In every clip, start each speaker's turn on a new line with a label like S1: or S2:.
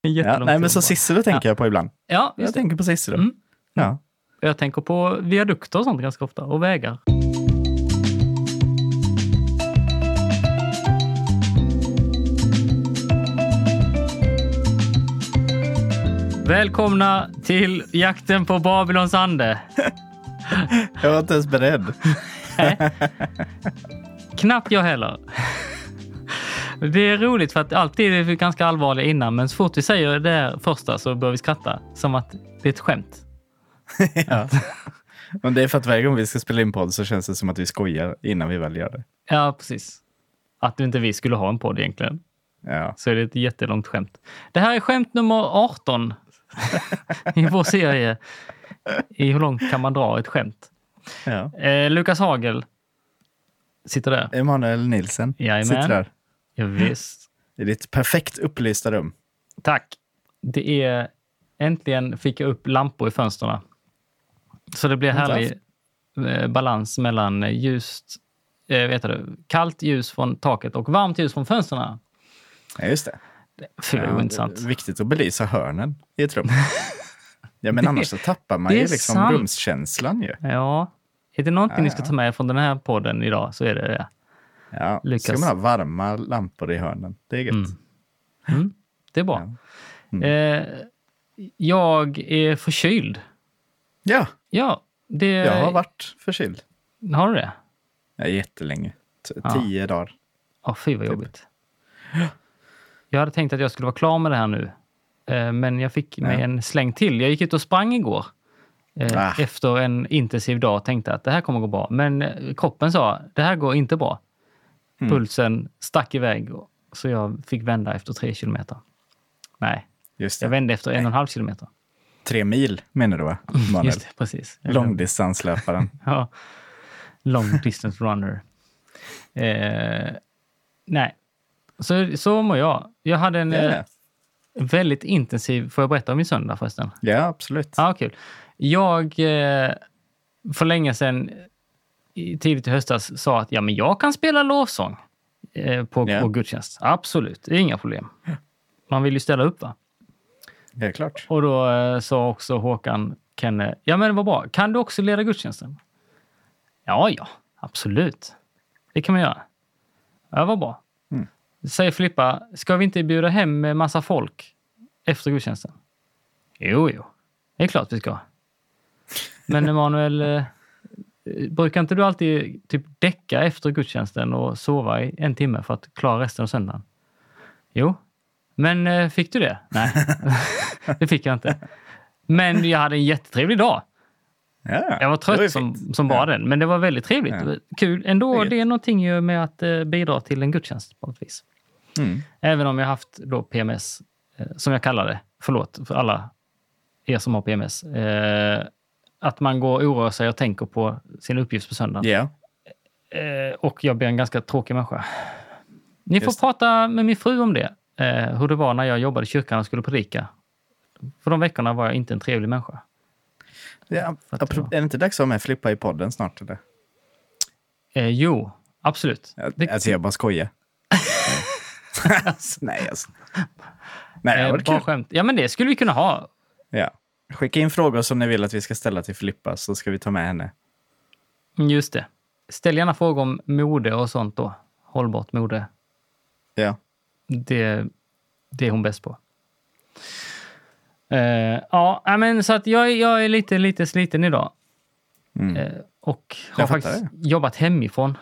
S1: Ja, nej, men så
S2: sist.
S1: Cicero tänker jag på ibland.
S2: Ja,
S1: Jag
S2: just det.
S1: tänker på Cicero.
S2: Mm.
S1: Ja.
S2: Och Jag tänker på viadukter och sånt ganska ofta och vägar. Välkomna till jakten på Babylons ande.
S1: Jag var inte ens beredd.
S2: Knappt jag heller. Det är roligt för att alltid är vi ganska allvarliga innan, men så fort vi säger det här första så börjar vi skratta. Som att det är ett skämt.
S1: ja. Men det är för att varje gång vi ska spela in podd så känns det som att vi skojar innan vi väl gör det.
S2: Ja, precis. Att inte vi skulle ha en podd egentligen.
S1: Ja.
S2: så är det ett jättelångt skämt. Det här är skämt nummer 18 i vår serie. I hur långt kan man dra ett skämt?
S1: Ja.
S2: Eh, Lukas Hagel sitter där.
S1: Emanuel Nilsen
S2: Jajamän.
S1: sitter där
S2: Ja, visst.
S1: i ditt perfekt upplysta rum.
S2: Tack. Det är äntligen fick jag upp lampor i fönstren. Så det blir härlig eh, balans mellan ljust, eh, vet du, kallt ljus från taket och varmt ljus från fönstren.
S1: Ja, just det.
S2: Fy, vad
S1: Ja,
S2: intressant.
S1: det är Viktigt att belysa hörnen i ett rum. ja, men
S2: Det-
S1: annars så tappar man
S2: det
S1: ju
S2: är
S1: liksom
S2: sant.
S1: rumskänslan ju.
S2: Ja. Är det någonting ni ska
S1: Ja.
S2: ta med från den här podden idag så är det det.
S1: Ja,
S2: Lyckas.
S1: ska man ha varma lampor i hörnen. Det är gött.
S2: Mm. Mm. Det är bra.
S1: Mm.
S2: Eh, jag är förkyld.
S1: Ja,
S2: Ja, det...
S1: jag har varit förkyld.
S2: Har du det?
S1: Ja, jättelänge. T-
S2: Ja.
S1: Tio dagar.
S2: Ja, fy
S1: Typ.
S2: vad jobbigt. Jag hade tänkt att jag skulle vara klar med det här nu. Eh, men jag fick mig
S1: Ja.
S2: en släng till. Jag gick ut och sprang igår. Eh,
S1: Ah.
S2: Efter en intensiv dag och tänkte att det här kommer gå bra. Men eh, kroppen sa, det här går inte bra.
S1: Mm.
S2: Pulsen stack iväg. och- Så jag fick vända efter tre kilometer. Nej,
S1: Just
S2: jag
S1: det.
S2: vände efter en och en halv kilometer.
S1: Tre mil menar du va? Emanuel?
S2: Just det, precis. Jag glömde.
S1: Långdistanslöparen.
S2: Ja. Long distance runner. Eh, nej, så, så mår jag. Jag hade en
S1: Ja,
S2: eh, väldigt intensiv... Får jag berätta om min söndag förresten?
S1: ja, absolut.
S2: Ja, kul. Jag eh, för länge sedan, i- tidigt i höstas, sa att ja, men jag kan spela lovsång eh, på,
S1: Ja.
S2: på gudstjänst. Absolut, det är inga problem. Man vill ju ställa upp. va?
S1: Det är klart.
S2: Och då eh, sa också Håkan Kenne, ja men vad bra, kan du också leda gudstjänsten? Ja, ja, absolut. Det kan man göra. Ja, vad bra.
S1: Mm.
S2: Säger Filippa, ska vi inte bjuda hem en massa folk efter gudstjänsten? Jo, jo, det är klart vi ska. Men Emanuel, eh, brukar inte du alltid typ däcka efter gudstjänsten och sova i en timme för att klara resten av söndagen? Jo, men eh, fick du det? Nej, det fick jag inte. Men jag hade en jättetrevlig dag.
S1: Ja,
S2: Jag var
S1: det ju
S2: trött som,
S1: fint.
S2: som bara
S1: Ja.
S2: den, men det var väldigt trevligt.
S1: Ja.
S2: Det var Kul ändå.
S1: Det är
S2: Det,
S1: gött.
S2: är någonting ju med att eh, bidra till en gudstjänst på något vis.
S1: Mm.
S2: Även om jag haft då PMS, eh, som jag kallar det, förlåt för alla er som har PMS, eh, att man går och oroar sig och tänker på sin uppgift på söndagen.
S1: Ja,
S2: Eh, och jag blir en ganska tråkig människa. Ni får
S1: Just det.
S2: prata med min fru om det, eh, hur det var när jag jobbade i kyrkan och skulle predika. För de veckorna var jag inte en trevlig människa.
S1: ja.
S2: För att det var-
S1: Apro- Är det inte dags att ha med Flippa i podden snart? Eller?
S2: Eh, jo, absolut. Det,
S1: Alltså jag bara skojar. Alltså, Nej, alltså. Nej, det
S2: eh,
S1: hade varit
S2: bara
S1: kul.
S2: skämt. Ja, men det skulle vi kunna ha.
S1: Ja. Skicka in frågor som ni vill att vi ska ställa till Filippa så ska vi ta med henne.
S2: Mm, Just det. Ställ gärna frågor om mode och sånt då. Hållbart mode.
S1: Ja.
S2: Det, det är hon bäst på. Eh, ja, nej, men så att jag, är- jag är lite, lite sliten idag.
S1: Mm.
S2: Eh, och har
S1: Jag fattar
S2: faktiskt jobbat hemifrån.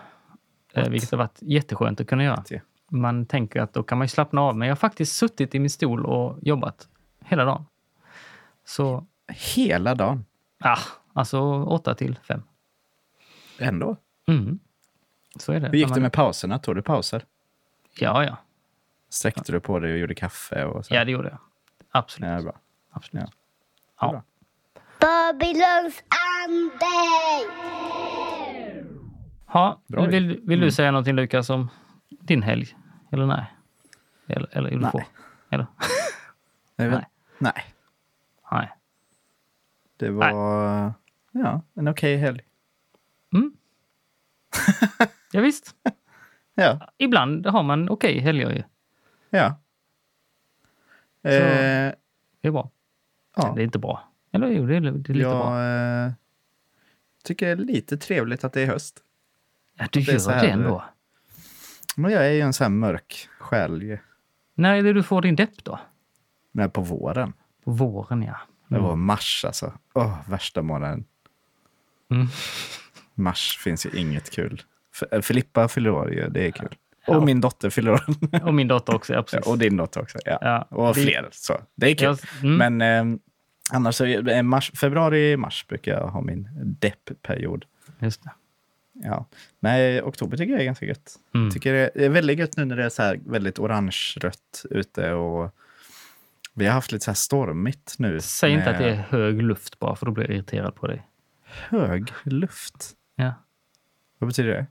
S2: eh, Vilket har varit jätteskönt att kunna göra.
S1: Ja.
S2: Man tänker att då kan man ju slappna av. Men jag har faktiskt suttit i min stol och jobbat hela dagen. Så,
S1: Hela dagen.
S2: ah, alltså åtta till fem.
S1: Ändå.
S2: Mm. Så är det.
S1: Hur gick
S2: När
S1: det
S2: man-
S1: med pauserna? Tog du pauser?
S2: Ja, ja.
S1: Sträckte du på dig och gjorde kaffe? Och så?
S2: Ja, det gjorde jag. Absolut.
S1: Ja, bra.
S2: Absolut.
S1: är
S2: Ja.
S1: bra.
S3: Babylons ande!
S2: Ha,
S1: Bra Mm.
S2: vill, vill du säga någonting Lukas om din helg? Eller nej? Eller, eller vill du
S1: Nej.
S2: få? Eller?
S1: Nej.
S2: Nej.
S1: Nej.
S2: nej.
S1: Det var Ja, en okej helg.
S2: Ja, visst.
S1: Ja,
S2: Ibland har man okej helger ju.
S1: ja. Eh,
S2: Det är bra.
S1: ja,
S2: Det är inte bra. Eller jo, det är, det är lite bra.
S1: jag eh, tycker det är lite trevligt att det är höst.
S2: Ja, du
S1: det är
S2: gör
S1: så
S2: det
S1: här- eh,
S2: ändå.
S1: Men jag är ju en sån här mörk själ ju.
S2: När är det du får din depp då?
S1: Nej, på våren.
S2: På våren, ja.
S1: Det var mars alltså. Åh, värsta månaden.
S2: Mm.
S1: Mars finns ju inget kul. F- eh, Filippa fyller år ju, det är kul.
S2: Ja.
S1: Och min dotter fyller år.
S2: Och min dotter också, ja, precis.
S1: och din dotter också. Ja.
S2: Ja,
S1: och
S2: vi-
S1: fler. Så det är kul.
S2: Jag- mm.
S1: Men eh, annars, så är det mars, februari, mars brukar jag ha min deppperiod.
S2: Just det.
S1: Ja. Nej, oktober tycker jag är ganska gött.
S2: Mm.
S1: Tycker det är väldigt gött nu när det är så här väldigt orange-rött ute och vi har haft lite så här stormigt nu.
S2: Säg inte
S1: med
S2: att det är hög luft bara, för då blir jag irriterad på dig.
S1: hög luft.
S2: Ja.
S1: Vad betyder det?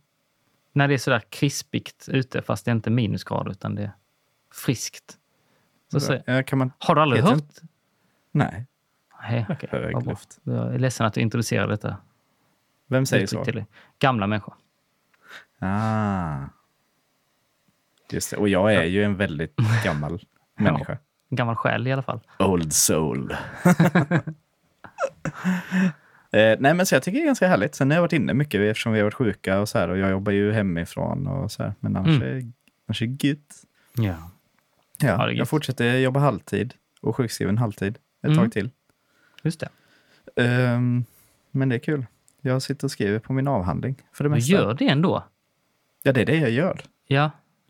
S2: När det är sådär krispigt ute, fast det är inte minusgrad utan det är friskt. Så säger,
S1: Eh, Kan man...
S2: har du aldrig
S1: Heter
S2: hört?
S1: Nej.
S2: Nej, okej.
S1: Hög
S2: vad bra.
S1: luft.
S2: Jag är ledsen att du introducerar detta
S1: Vem säger
S2: uttryck
S1: så?
S2: till dig. Gamla människor.
S1: Ah. Just det. Och jag är ju en väldigt gammal människa.
S2: En gammal själ i alla fall.
S1: Old soul. eh, nej, men så jag tycker det är ganska härligt. Sen har jag varit inne mycket eftersom vi har varit sjuka och så här. Och jag jobbar ju hemifrån och så här. Men annars
S2: Mm.
S1: är annars är det gött.
S2: Ja.
S1: Ja,
S2: det är
S1: jag
S2: gött.
S1: fortsätter jobba halvtid och sjukskriven halvtid ett
S2: Mm.
S1: tag till.
S2: Just det.
S1: Ehm, men det är kul. Jag sitter och skriver på min avhandling för det
S2: Du
S1: mesta.
S2: gör det ändå.
S1: Ja, det är det jag gör.
S2: Ja.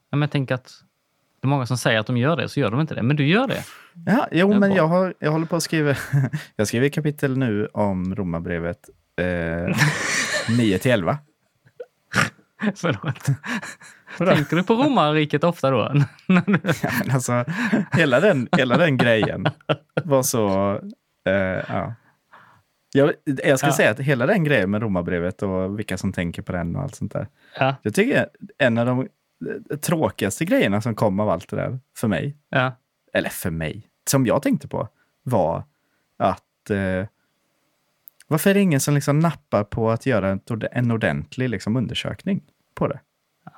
S2: ja, men jag tänker att det är många som säger att de gör det, så gör de inte det. Men du gör det.
S1: Ja, jo,
S2: är
S1: men
S2: bra.
S1: jag, har, jag håller på att skriva. jag skriver kapitel nu om romarbrevet eh, 9 till 11.
S2: Förlåt. Tänker du på romarriket ofta då?
S1: Ja, men alltså, hela, den, hela den grejen var så... Eh, ja. jag, jag ska
S2: Ja.
S1: säga att hela den grejen med romarbrevet och vilka som tänker på den och allt sånt där.
S2: ja.
S1: Jag tycker en av de eh, tråkigaste grejerna som kom av allt det där för mig,
S2: ja.
S1: eller för mig, som jag tänkte på var att eh, varför är det ingen som liksom nappar på att göra en ord- en ordentlig liksom undersökning på det?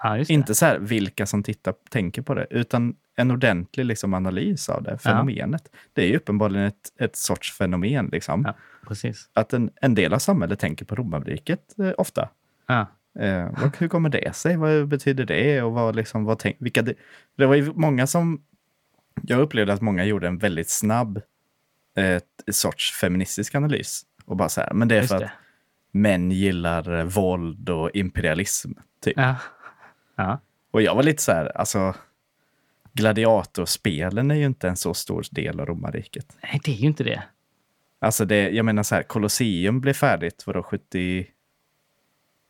S2: ja just det.
S1: Inte så här vilka som tittar, tänker på det, utan en ordentlig liksom analys av det fenomenet. Det är ju uppenbarligen ett, ett sorts fenomen. Liksom.
S2: Ja, precis.
S1: Att en, en del av samhället tänker på romarriket eh, ofta.
S2: Ja.
S1: Eh, vad, hur kommer det sig? Vad betyder det? Och vad, liksom, vad tänk, vilka det, det var ju många som... Jag upplevde att många gjorde en väldigt snabb eh, t- sorts feministisk analys. Och bara så här, men det är
S2: Just
S1: för
S2: det.
S1: att män gillar eh, våld och imperialism. Typ.
S2: Ja. Ja.
S1: Och jag var lite så här, alltså... Gladiatorspelen är ju inte en så stor del av romarriket.
S2: Nej, det är ju inte det.
S1: Alltså det, jag menar så här, Colosseum blev färdigt, vadå, 70...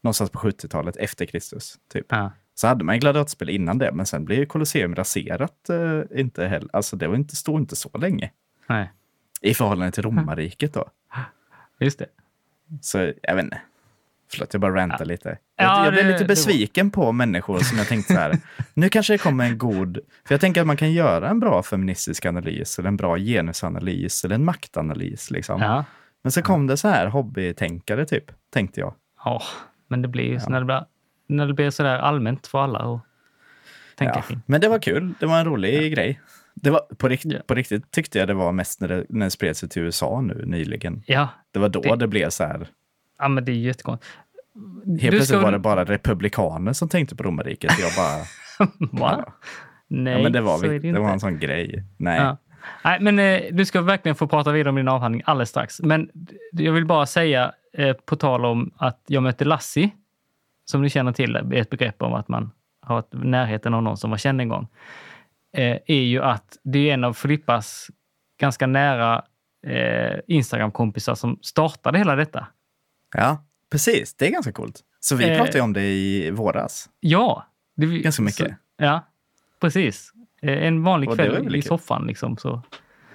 S1: Någonstans på 70-talet, efter Kristus, typ.
S2: Ja.
S1: Så hade man gladiatorspel innan det, men sen blev ju Colosseum raserat. Eh, inte heller. Alltså det var inte, stod inte så länge
S2: Nej,
S1: i förhållande till romarriket då.
S2: just det.
S1: Så jag vet inte. Förlåt, jag bara rantar lite.
S2: Ja,
S1: Jag, jag blev
S2: det- det
S1: lite
S2: var-
S1: besviken på människor som jag tänkte så här, nu kanske det kommer en god... För jag tänker att man kan göra en bra feministisk analys, eller en bra genusanalys, eller en maktanalys. Liksom.
S2: Ja.
S1: Men så kom det så här hobbytänkare, typ, tänkte jag.
S2: ja. Men det blir ju så när det blir, när det blir sådär allmänt för alla och tänka
S1: Ja.
S2: kring.
S1: Men det var kul. Det var en rolig grej. Det var, på, rikt,
S2: Ja.
S1: på riktigt tyckte jag det var mest när det, när det spred sig till USA nu nyligen.
S2: Ja.
S1: Det var då det,
S2: Det-
S1: blev så här.
S2: ja, men det är ju jättekonstigt.
S1: Helt plötsligt var det bara republikaner som tänkte på romarriket. Jag bara,
S2: Va? Nej,
S1: ja, men det var,
S2: så
S1: vi-
S2: är det
S1: det
S2: inte.
S1: var en sån grej. Nej.
S2: Ja. Nej, men eh, du ska verkligen få prata vidare om din avhandling alldeles strax. Men d- jag vill bara säga, eh, på tal om att jag mötte Lassie, som du känner till, är ett begrepp om att man har ett- närheten av någon som var känd en gång, eh, är ju att det är en av Filippas ganska nära eh, Instagram-kompisar som startade hela detta.
S1: Ja, precis. Det är ganska coolt. Så vi
S2: Eh.
S1: pratade ju om det i våras.
S2: Ja! Det,
S1: Ganska mycket.
S2: Så, ja, precis. Eh, En vanlig
S1: Och det var
S2: kväll
S1: väl
S2: i
S1: kul.
S2: soffan liksom, så,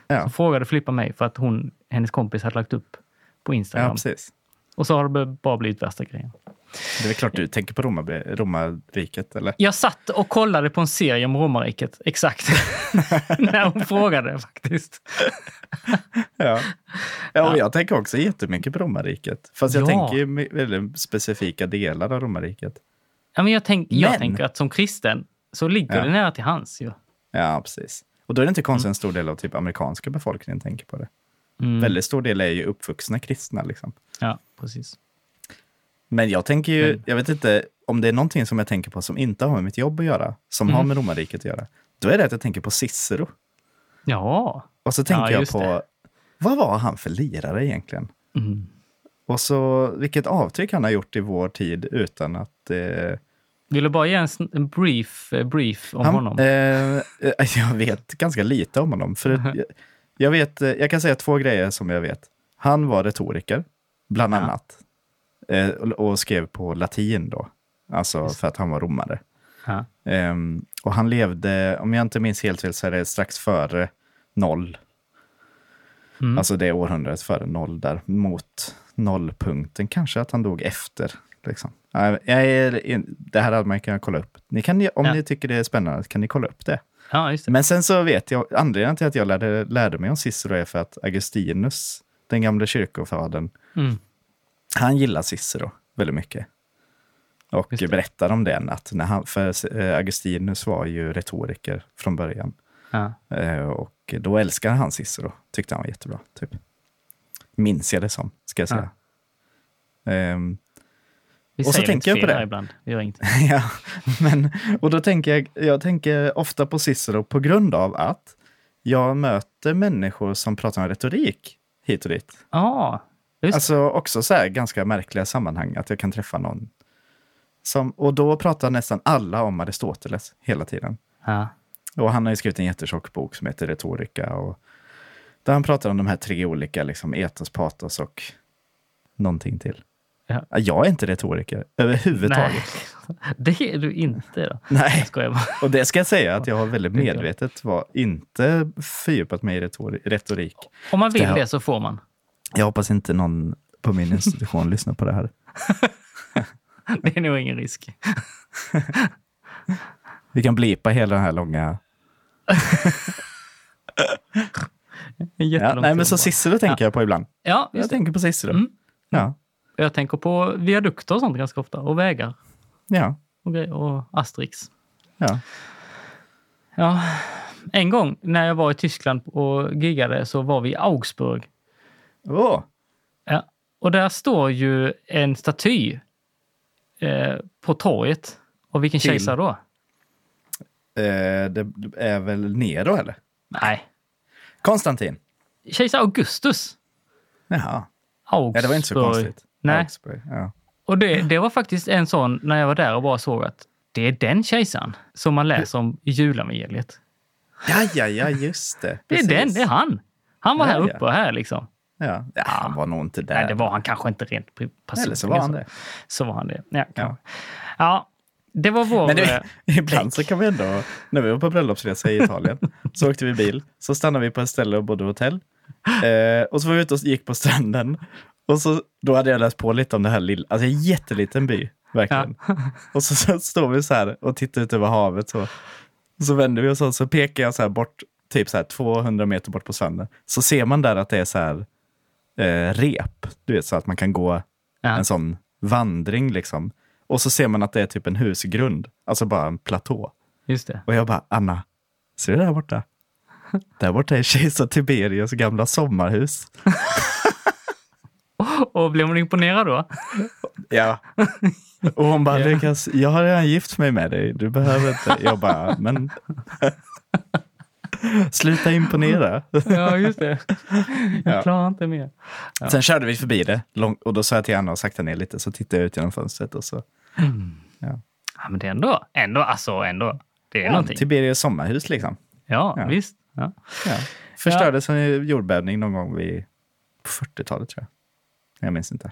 S1: Ja.
S2: så frågade Filippa mig för att hon, hennes kompis hade lagt upp på
S1: Ja,
S2: Instagram.
S1: precis.
S2: och så har det bara blivit värsta grejen.
S1: Det är väl klart du tänker på romar, romarriket, eller?
S2: Jag satt och kollade på en serie om romarriket, exakt. När hon frågade faktiskt.
S1: Ja. ja, och jag tänker också jättemycket på romarriket. Fast jag
S2: Ja.
S1: tänker ju my- väldigt specifika delar av romarriket.
S2: Ja, men jag, tänk, jag
S1: Men-
S2: tänker att som kristen så ligger
S1: Ja.
S2: det nära till hans ju.
S1: Ja, precis. Och då är det inte konstigt en stor del av typ amerikanska befolkningen tänker på det.
S2: Mm.
S1: Väldigt stor del är ju uppvuxna kristna. Liksom.
S2: Ja, precis.
S1: Men jag tänker ju,
S2: Men-
S1: jag vet inte om det är någonting som jag tänker på som inte har med mitt jobb att göra, som har
S2: Mm.
S1: med romarriket att göra. Då är det att jag tänker på Cicero.
S2: Ja.
S1: Och så tänker jag
S2: just
S1: på,
S2: det.
S1: vad var han för lirare egentligen?
S2: Mm.
S1: Och så vilket avtryck han har gjort i vår tid utan att... Eh,
S2: Vill du bara ge en, sn- en brief, eh, brief om
S1: han,
S2: honom?
S1: Eh, eh, jag vet ganska lite om honom. För jag, jag, vet, eh, jag kan säga två grejer som jag vet. Han var retoriker, bland
S2: Ja.
S1: annat. Eh, och, och skrev på latin då. Alltså för att han var romare.
S2: Ja.
S1: Ehm, och han levde, om jag inte minns helt fel, så är det strax före noll.
S2: Mm.
S1: Alltså det århundradet före noll där, mot nollpunkten. Kanske att han dog efter. Liksom. Nej, Jag är, in- det här hade man kunnat kolla upp. Ni kan, ju- om
S2: Ja.
S1: ni tycker det är spännande kan ni kolla upp det.
S2: ja, just det.
S1: Men sen så vet jag, anledningen till att jag lärde, lärde mig om Cicero är för att Augustinus, den gamle kyrkofadern,
S2: Mm.
S1: han gillar Cicero väldigt mycket. Och
S2: Just det.
S1: berättar om den, att när han, för eh, Augustinus var ju retoriker från början.
S2: Ja.
S1: Eh, Och då älskade han Cicero, tyckte han var jättebra. Typ. Minns jag det som, ska jag säga. Ehm,
S2: Vi
S1: Och så
S2: säger
S1: tänker
S2: lite
S1: jag på
S2: fel
S1: det.
S2: här ibland. Vi gör inget.
S1: ja, men, och då tänker jag, jag tänker ofta på Cicero på grund av att jag möter människor som pratar om retorik hit och dit.
S2: Ja, just det.
S1: Alltså också så här ganska märkliga sammanhang, att jag kan träffa någon. Som, och då pratar nästan alla om Aristoteles hela tiden.
S2: Ja.
S1: Och han har ju skrivit en jättetjock bok som heter Retorika. Och där han pratar om de här tre olika, liksom etos, patos och någonting till.
S2: Ja.
S1: Jag är inte retoriker
S2: Nej,
S1: överhuvudtaget.
S2: det är du inte då.
S1: Nej.
S2: Jag skojar bara.
S1: Och det ska jag säga att jag har väldigt
S2: Tycker jag.
S1: medvetet var inte fördjupat mig i retori- retorik.
S2: Om man vill
S1: Det här-
S2: det så får man.
S1: Jag hoppas inte någon på min institution lyssnar på det här.
S2: Det är nog ingen risk.
S1: Vi kan blipa hela den här långa...
S2: En
S1: Ja,
S2: jättelång
S1: nej, men
S2: tid
S1: så
S2: bara.
S1: Cicero tänker jag på ibland.
S2: Ja,
S1: Jag
S2: just det.
S1: tänker på Cicero.
S2: Mm.
S1: Ja,
S2: Och Jag tänker på viadukter och sånt ganska ofta. Och vägar
S1: ja,
S2: och, grejer, och Asterix.
S1: ja.
S2: Ja. En gång när jag var i Tyskland och giggade så var vi i Augsburg.
S1: Åh,
S2: Ja. Och där står ju en staty eh, på torget. Och vilken
S1: Till?
S2: kejsare då?
S1: eh, det är väl Nero, eller?
S2: Nej,
S1: Konstantin.
S2: kejsar Augustus.
S1: Jaha.
S2: Augsburg.
S1: Ja, det var inte så konstigt.
S2: Nej,
S1: Augsburg, ja.
S2: och det, det var faktiskt en sån när jag var där och bara såg att det är den kejsaren som man läser om i julevangeliet.
S1: ja, ja, ja, just det.
S2: Det är
S1: Precis.
S2: den, det är han. Han var
S1: Ja,
S2: här
S1: ja.
S2: uppe och här liksom.
S1: Ja. ja, han var nog inte där.
S2: Nej, det var han kanske inte rent pri- personligen.
S1: Eller så var han det.
S2: Så var han det. Ja,
S1: Ja.
S2: ja. ja det var vår...
S1: Men
S2: eh,
S1: det, ibland så kan vi ändå, när vi var på bröllopsresa i Italien, så åkte vi bil, så stannade vi på ett ställe och bodde hotell. Eh, och så var vi ute och gick på stranden. Och så, då hade jag läst på lite om det här lilla, alltså en jätteliten by, verkligen. Och så, så står vi så här och tittar ut över havet. Så, och så vänder vi oss och så pekar jag så här bort, typ så här 200 meter bort på stranden. Så ser man där att det är så här eh, rep, du vet, så att man kan gå
S2: ja.
S1: en sån vandring liksom. Och så ser man att det är typ en husgrund, alltså bara en platå.
S2: Just det.
S1: Och jag bara, Anna, ser du där borta? Där borta är kejsar Tiberius gamla sommarhus.
S2: Och blev man imponerad då?
S1: Ja. Och hon bara,
S2: Ja.
S1: Lukas, jag har redan gift mig med dig, du behöver inte. Jag bara, men... Sluta imponera.
S2: Ja, just det. Jag
S1: Ja.
S2: klarar inte mer.
S1: Sen körde vi förbi det lång, och då sa jag till Anna och sakta ner lite, så tittade jag ut genom fönstret och så...
S2: Ja, men det är ändå, ändå, alltså ändå. Det är
S1: Ja,
S2: någonting.
S1: Tiberius sommarhus liksom.
S2: Ja,
S1: Ja.
S2: visst. Ja.
S1: Ja. Förstördes av en jordbävning någon gång vid på 40-talet tror jag. Jag minns inte.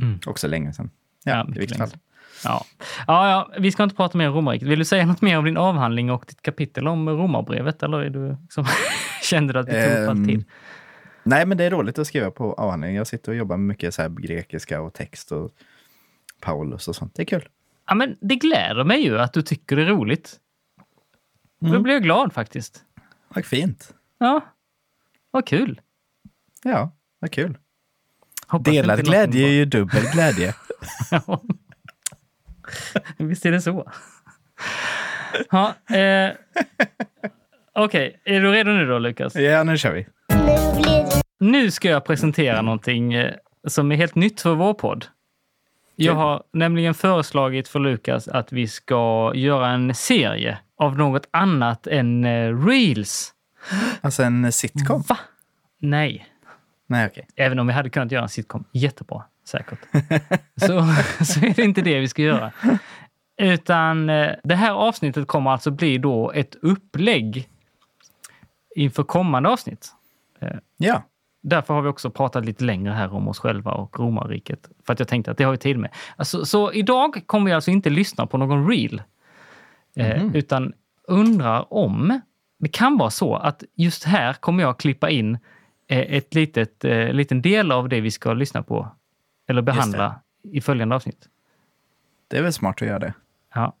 S2: Mm.
S1: Också länge sedan. Ja,
S2: Ja,
S1: i
S2: mycket
S1: vilket
S2: länge
S1: fall.
S2: Ja. Ja, ja, vi ska inte prata mer om romarriket. Vill du säga något mer om din avhandling och ditt kapitel om romarbrevet? Eller är du liksom, kände du att vi tog upp all
S1: Ehm,
S2: tid?
S1: Nej, men det är roligt att skriva på avhandling. Jag sitter och jobbar med mycket så här grekiska och text och Paulus och sånt. Det är kul.
S2: Ja, men det gläder mig ju att du tycker det är roligt.
S1: Mm.
S2: Då blir jag glad faktiskt.
S1: Vad fint.
S2: Ja, vad kul.
S1: Ja, vad kul.
S2: Hoppas det
S1: Delad
S2: inte är någonting
S1: glädje är ju dubbel glädje.
S2: Ja. Visst är det så. Ja, eh, Okej, är du redo nu då Lukas?
S1: Ja, nu kör vi.
S3: Nu blir det
S2: Nu ska jag presentera någonting eh, som är helt nytt för vår podd. Jag
S1: Kul.
S2: har nämligen föreslagit för Lukas att vi ska göra en serie av något annat än eh, reels.
S1: Alltså en sitcom?
S2: Va? Nej.
S1: Nej, okej.
S2: Även om vi hade kunnat göra en sitcom jättebra, säkert. Så, så är det inte det vi ska göra. Utan eh, det här avsnittet kommer alltså bli då ett upplägg inför kommande avsnitt.
S1: Ja.
S2: Därför har vi också pratat lite längre här om oss själva och romarriket. För att jag tänkte att det har vi tid med. Alltså, så idag kommer jag alltså inte lyssna på någon reel. Eh, utan undrar om det kan vara så att just här kommer jag klippa in eh, ett litet, eh, liten del av det vi ska lyssna på eller behandla i följande avsnitt.
S1: Det är väl smart att göra det.
S2: Ja.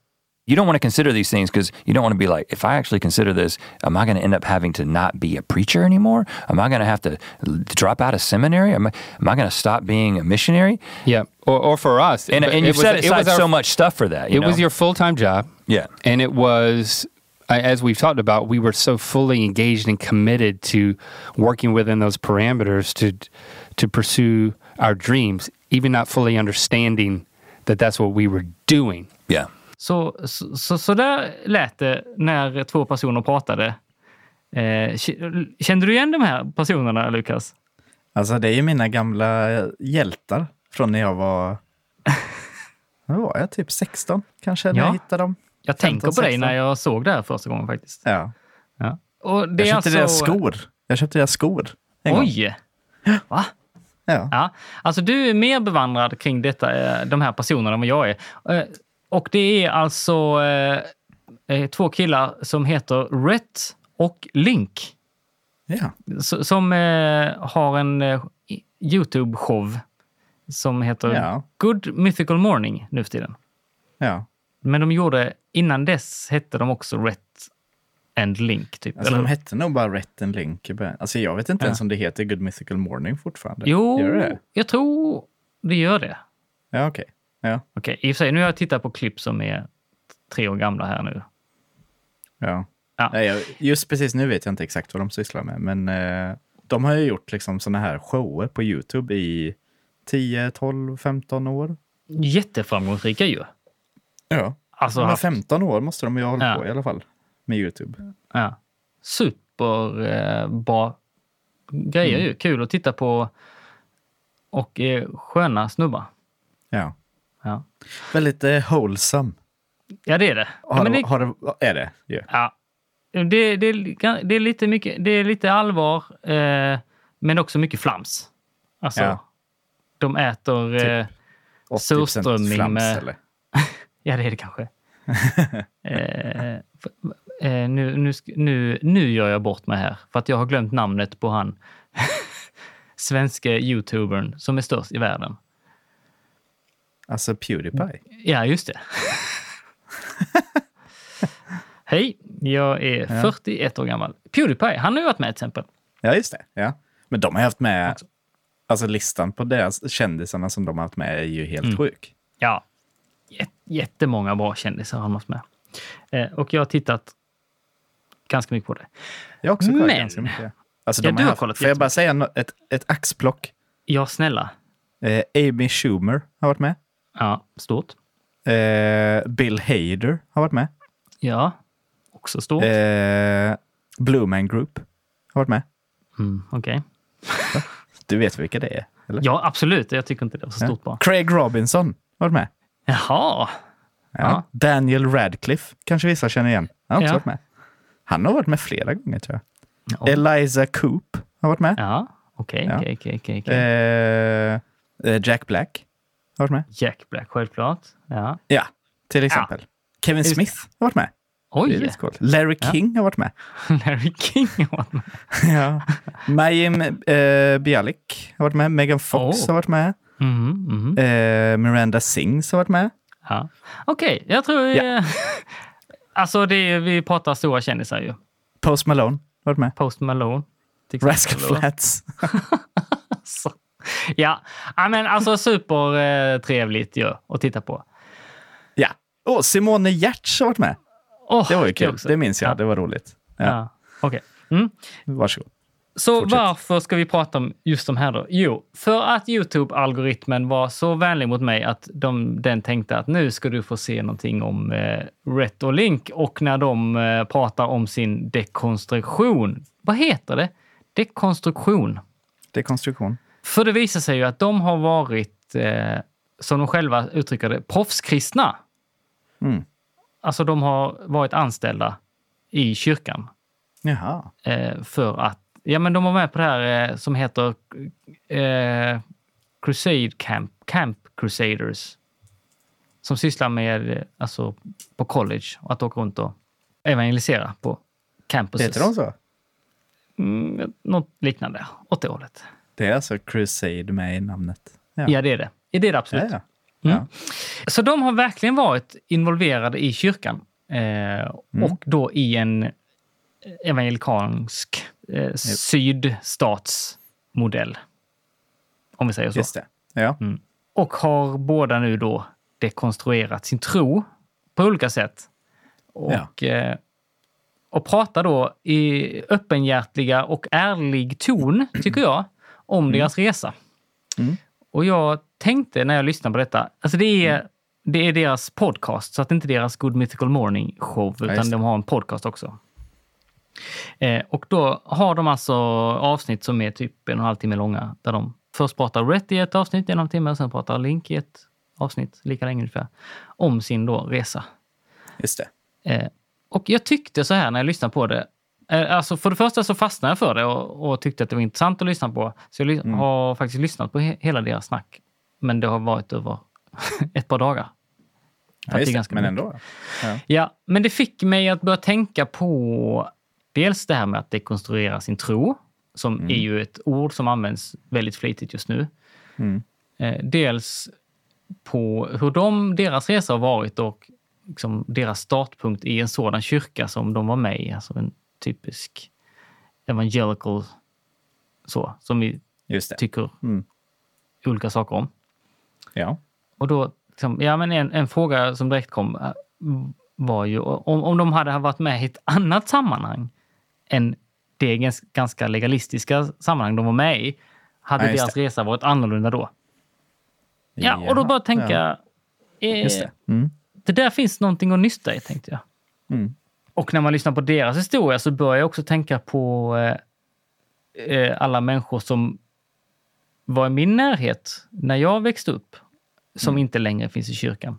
S4: you don't want to consider these things because you don't want to be like, if I actually consider this, am I going to end up having to not be a preacher anymore? Am I going to have to l- drop out of seminary? Am I, am I going to stop being a missionary?
S5: Yeah, or, or for us,
S4: And,
S5: but
S4: and you've
S5: was-
S4: set aside
S5: was our-
S4: so much stuff for that. you
S5: It was
S4: know?
S5: your full time job.
S4: Yeah.
S5: and it was I- as we've talked about, we were so fully engaged and committed to working within those parameters to to pursue our dreams, even not fully understanding that that's what we were doing.
S4: yeah.
S2: Så, så, så, så där lät det när två personer pratade. Eh, k- kände du igen de här personerna, Lukas?
S1: Alltså det är ju mina gamla eh, hjältar från när jag var... Nu var jag typ 16 kanske när
S2: Ja.
S1: jag hittade dem.
S2: Jag tänker på dig
S1: 15-16.
S2: när jag såg det här första gången faktiskt.
S1: Ja.
S2: Och det
S1: Jag
S2: är
S1: köpte
S2: alltså...
S1: deras skor. Jag köpte deras skor. en gång.
S2: Oj! Va?
S1: Ja.
S2: Ja. Alltså du är mer bevandrad kring detta, eh, de här personerna än vad jag är. Eh, Och det är alltså eh, eh, två killar som heter Rhett och Link.
S1: ja.
S2: s- Som eh, har en eh, YouTube-show som heter
S1: Ja.
S2: Good Mythical Morning nu för tiden.
S1: ja.
S2: Men de gjorde, innan dess hette de också Rhett and Link. Typ.
S1: Alltså
S2: Eller-
S1: de hette nog bara Rhett and Link. i början. Alltså jag vet inte ens om det heter Good Mythical Morning fortfarande.
S2: Jo,
S1: Gör det?
S2: jag tror det gör det.
S1: Ja, okej. Ja.
S2: Okej, i och för sig, nu har jag tittat på klipp som är tre år gamla här nu.
S1: Ja.
S2: Ja.
S1: Nej, jag, just precis nu vet jag inte exakt vad de sysslar med, men eh, de har ju gjort liksom såna här shower på Youtube i 10, 12, 15 år.
S2: Jätteframgångsrika ju.
S1: Ja.
S2: Alltså,
S1: Men
S2: haft-
S1: 15 år måste de ju ha hållit
S2: Ja.
S1: på i alla fall med Youtube.
S2: ja. Super eh, bra grejer
S1: Mm.
S2: ju. Kul att titta på. Och eh, sköna snubbar.
S1: Ja.
S2: Ja,
S1: Väldigt eh, wholesome.
S2: ja det är det.
S1: Har
S2: ja,
S1: de,
S2: men det,
S1: Har de, är det? Ja.
S2: ja. det, det, är li- det, är lite mycket, det är lite allvar, eh, men också mycket flams. Alltså,
S1: Ja. Typ.
S2: de äter... Eh,
S1: 80%
S2: Surströmming
S1: flams,
S2: med-
S1: eller?
S2: Ja, det är det kanske. eh, f- eh, nu, nu, sk- nu, nu gör jag bort mig här, för att jag har glömt namnet på han svenske youtubern som är störst i världen.
S1: Alltså Pewdiepie.
S2: Ja, just det. Hej, jag är 41 år gammal. Pewdiepie, han har ju varit med till exempel.
S1: Ja, just det. Ja. Men de har haft med... Alltså listan på deras kändisarna som de har haft med är ju helt
S2: Mm.
S1: sjuk.
S2: Ja, jät- jättemånga bra kändisar har han varit med. Eh, och jag har tittat ganska mycket på det.
S1: Jag har också kollat
S2: Men-
S1: ganska mycket. Alltså,
S2: Ja,
S1: de
S2: du har
S1: haft,
S2: kollat
S1: Får jag bara säga nå- ett, ett axplock?
S2: Ja, snälla.
S1: Eh, Amy Schumer har varit med.
S2: Ja, stort.
S1: Eh, Bill Hader har varit med.
S2: Ja, också stort.
S1: Eh, Blue Man Group har varit med.
S2: Mm, Okej.
S1: Du vet vilka det är? Eller?
S2: Ja, absolut. Jag tycker inte det var så stort bara.
S1: Craig Robinson har varit med.
S2: Jaha.
S1: Ja.
S2: Ja.
S1: Daniel Radcliffe kanske vissa känner igen. Han har också
S2: Ja.
S1: varit med. Han har varit med flera gånger tror jag.
S2: Ja.
S1: Eliza Coop har varit med.
S2: Ja, okej,
S1: Ja.
S2: okej, okej, okej, okej.
S1: Eh, eh, Jack Black har varit med.
S2: Jack Black, självklart. Ja.
S1: Ja, till exempel. Kevin
S2: Just-
S1: Smith har varit med. Det är
S2: Oj!
S1: lite coolt. Larry King har varit med.
S2: Larry King har varit med.
S1: Ja. Mayim eh, Bialik har varit med. Megan Fox
S2: Oh.
S1: har varit med.
S2: Mhm, mhm.
S1: Eh, Miranda Sings har varit med.
S2: Ja. Okej, jag tror vi... eh, alltså, det är, vi pratar stora kändisar ju.
S1: Post Malone har varit med.
S2: Post Malone. till exempel.
S1: Rascal Flats.
S2: Så. Ja. ja, men alltså supertrevligt ju att titta på.
S1: Ja. Och Simone Giertz har varit med.
S2: Åh,
S1: Det var ju kul.
S2: också.
S1: Det minns
S2: Ja.
S1: jag. Det var roligt. Ja.
S2: Ja. Okej. Mm.
S1: Varsågod.
S2: Så
S1: Fortsätt.
S2: varför ska vi prata om just de här då? Jo, för att Youtube-algoritmen var så vänlig mot mig att de, den tänkte att nu ska du få se någonting om eh, Rhett och Link och när de eh, pratar om sin dekonstruktion. Vad heter det? Dekonstruktion.
S1: Dekonstruktion.
S2: För det visar sig ju att de har varit, eh, som de själva uttrycker det, proffskristna.
S1: Mm.
S2: Alltså de har varit anställda i kyrkan
S1: Jaha.
S2: eh, för att... Ja, men de var med på det här eh, som heter eh, Crusade Camp, Camp Crusaders. Som sysslar med, eh, alltså på college, och att åka runt och evangelisera på campuses.
S1: Heter de så?
S2: Mm, något liknande, åt det hållet.
S1: Det är alltså Crusade med i namnet. Ja,
S2: Ja, det är det. Ja, Det är det absolut.
S1: ja. ja.
S2: Så de har verkligen varit involverade i kyrkan eh, och då i en eh, evangelikansk eh, sydstatsmodell. Om vi säger så.
S1: Just det. Ja.
S2: Mm. Och har båda nu då dekonstruerat sin tro på olika sätt. Och, eh, och pratar då i öppenhjärtiga och ärlig ton, tycker jag, om
S1: Mm.
S2: deras resa. Och jag tänkte när jag lyssnade på detta, alltså det är,
S1: Mm.
S2: det är deras podcast, så att det inte är deras Good Mythical Morning show, utan
S1: just det.
S2: de har en podcast också. Eh, och då har de alltså avsnitt som är typ en och en halv timme långa, där de först pratar Rhett i ett avsnitt i en och en halv timme, och sen pratar Link i ett avsnitt, lika länge ungefär, om sin då resa.
S1: Just det.
S2: Eh, och jag tyckte så här när jag lyssnade på det. Eh, alltså för det första så fastnade jag för det och, och tyckte att det var intressant att lyssna på. Så jag ly- har faktiskt lyssnat på he- hela deras snack. Men det har varit över ett par dagar.
S1: Ja, just
S2: är
S1: det.
S2: ganska
S1: Men
S2: mycket.
S1: ändå.
S2: Ja, men det fick mig att börja tänka på dels det här med att dekonstruera sin tro, som är ju ett ord som används väldigt flitigt just nu.
S1: Mm.
S2: Eh, Dels på hur de, deras resa har varit och liksom deras startpunkt i en sådan kyrka som de var med i, alltså en typisk evangelical, så, som vi
S1: Just det.
S2: tycker
S1: Mm.
S2: olika saker om.
S1: Ja.
S2: Och då, liksom, ja, men en, en fråga som direkt kom eh, var ju om, om de hade varit med i ett annat sammanhang än det gans- ganska legalistiska sammanhang de var med i, hade
S1: Ja, just
S2: deras resa varit annorlunda då? Ja, och då
S1: Jaha.
S2: bara tänka... eh,
S1: Just det. Mm.
S2: det där finns någonting att nysta i, tänkte jag.
S1: Mm.
S2: Och när man lyssnar på deras historia så börjar jag också tänka på eh, eh, alla människor som var i min närhet när jag växte upp, som
S1: Mm.
S2: inte längre finns i kyrkan.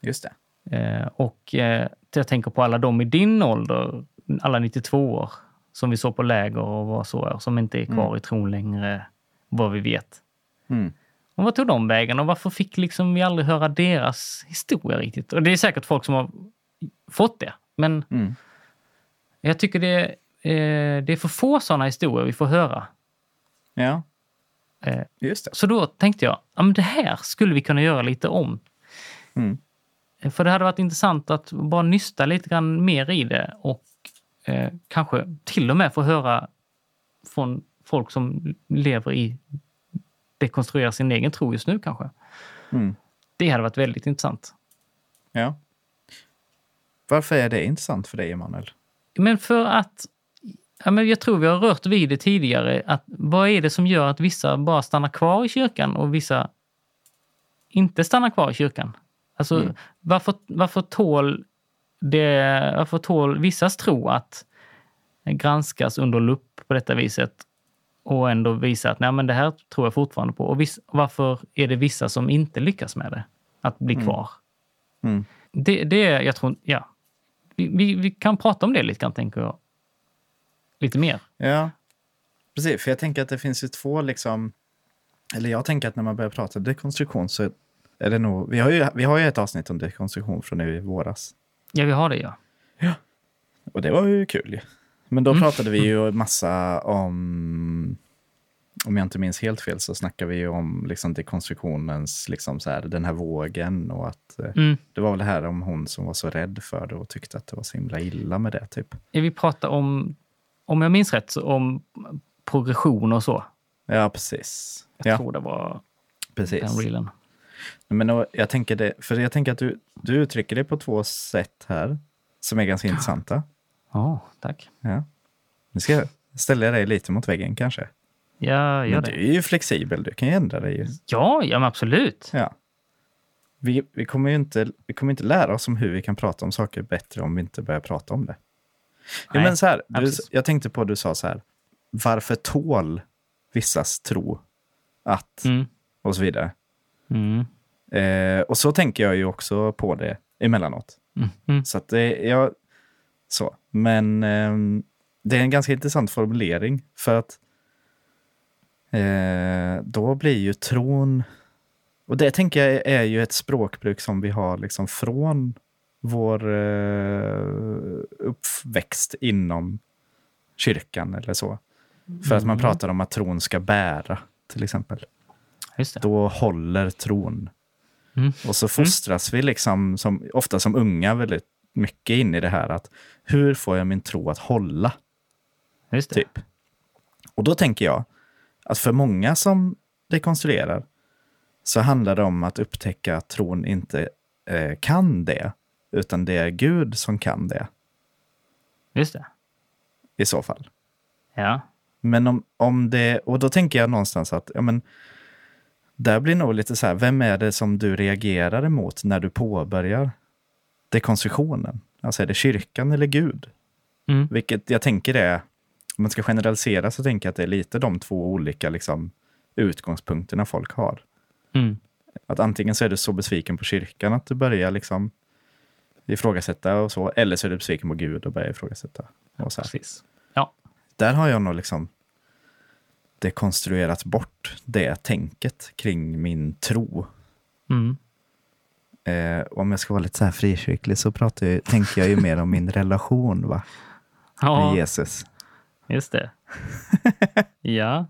S1: Just det.
S2: Eh, och eh, jag tänker på alla de i din ålder, alla 92 år, som vi såg på läger och var så, som inte är kvar i tron längre, vad vi vet.
S1: Mm.
S2: Och vad tog de vägen och varför fick liksom vi aldrig höra deras historia riktigt? Och det är säkert folk som har fått det, men
S1: Mm.
S2: jag tycker det, eh, det är för få sådana historier vi får höra.
S1: Ja.
S2: Eh,
S1: Just det.
S2: Så då tänkte jag, ja, men det här skulle vi kunna göra lite om.
S1: Mm.
S2: Eh, För det hade varit intressant att bara nysta lite grann mer i det och eh, kanske till och med få höra från folk som lever i, dekonstruerar sin egen tro just nu kanske.
S1: Mm.
S2: Det hade varit väldigt intressant.
S1: Ja. Varför är det intressant för dig, Emanuel?
S2: Men för att... Ja, men jag tror vi har rört vid det tidigare. Att vad är det som gör att vissa bara stannar kvar i kyrkan och vissa inte stannar kvar i kyrkan? Alltså, varför, varför, tål det, varför tål vissas tro att granskas under lupp på detta viset och ändå visa att nej, men det här tror jag fortfarande på. Och viss, varför är det vissa som inte lyckas med det? Att bli kvar.
S1: Mm.
S2: Det, det är, jag tror, ja. Vi, vi, vi kan prata om det lite grann, tänker jag. Lite mer.
S1: Ja, precis. För jag tänker att det finns ju två liksom... Eller jag tänker att när man börjar prata dekonstruktion så är det nog... Vi har ju, vi har ju ett avsnitt om dekonstruktion från nu i våras.
S2: Ja, vi har det, ja.
S1: Och det var ju kul ju. Men
S2: Mm.
S1: då pratade vi ju massa om... Om jag inte minns helt fel så snackade vi ju om liksom dekonstruktionens, liksom så här, den här vågen och att eh,
S2: Mm.
S1: det var väl det här om hon som var så rädd för det och tyckte att det var så himla illa med det typ.
S2: Ja, Vi pratar om, om jag minns rätt, så om progression och så.
S1: Ja, precis.
S2: Jag
S1: Ja,
S2: tror det var
S1: precis.
S2: den reelen.
S1: Men och jag tänker, det, för jag tänker att du, du uttrycker det på två sätt här som är ganska intressanta.
S2: Ja, tack.
S1: Ja. Nu ska jag ställa dig lite mot väggen kanske.
S2: Ja, gör
S1: Men
S2: det.
S1: du är ju flexibel, du kan ju ändra dig. ju.
S2: Ja, ja men absolut.
S1: Ja. Vi, vi, kommer ju inte, vi kommer inte lära oss om hur vi kan prata om saker bättre om vi inte börjar prata om det. Ja,
S2: Nej,
S1: men så här,
S2: ja,
S1: du,
S2: precis.
S1: jag tänkte på du sa så här, varför tål vissas tro att
S2: Mm.
S1: och så vidare.
S2: Mm.
S1: Eh, och så tänker jag ju också på det emellanåt.
S2: Mm. Mm.
S1: Så att det, jag, så. Men ehm, det är en ganska intressant formulering för att eh, då blir ju tron... Och det tänker jag är ju ett språkbruk som vi har liksom från vår eh, uppväxt inom kyrkan eller så. För att man pratar om att tron ska bära, till exempel
S2: Just det.
S1: då håller tron.
S2: Mm.
S1: Och så fostras vi liksom, som, ofta som unga väldigt mycket in i det här att hur får jag min tro att hålla?
S2: Just det.
S1: Typ. Och då tänker jag att för många som rekonstruerar så handlar det om att upptäcka att tron inte eh, kan det, utan det är Gud som kan det
S2: Just det.
S1: i så fall.
S2: Ja.
S1: Men om, om det, och då tänker jag någonstans att, ja men, där blir nog lite så här, vem är det som du reagerar emot när du påbörjar dekonstruktionen? Alltså är det kyrkan eller Gud?
S2: Mm.
S1: Vilket jag tänker är, om man ska generalisera så tänker jag att det är lite de två olika liksom, utgångspunkterna folk har.
S2: Mm.
S1: Att antingen så är du så besviken på kyrkan att du börjar liksom ifrågasätta och så, eller så är du besviken på Gud och börjar ifrågasätta. Och så här
S2: Precis. Ja.
S1: där har jag nog liksom dekonstruerat bort det tänket kring min tro.
S2: Mm.
S1: Eh, om jag ska vara lite så här frikyrklig så pratar jag, tänker jag ju mer om min relation va? med
S2: Ja,
S1: Jesus.
S2: just det. ja.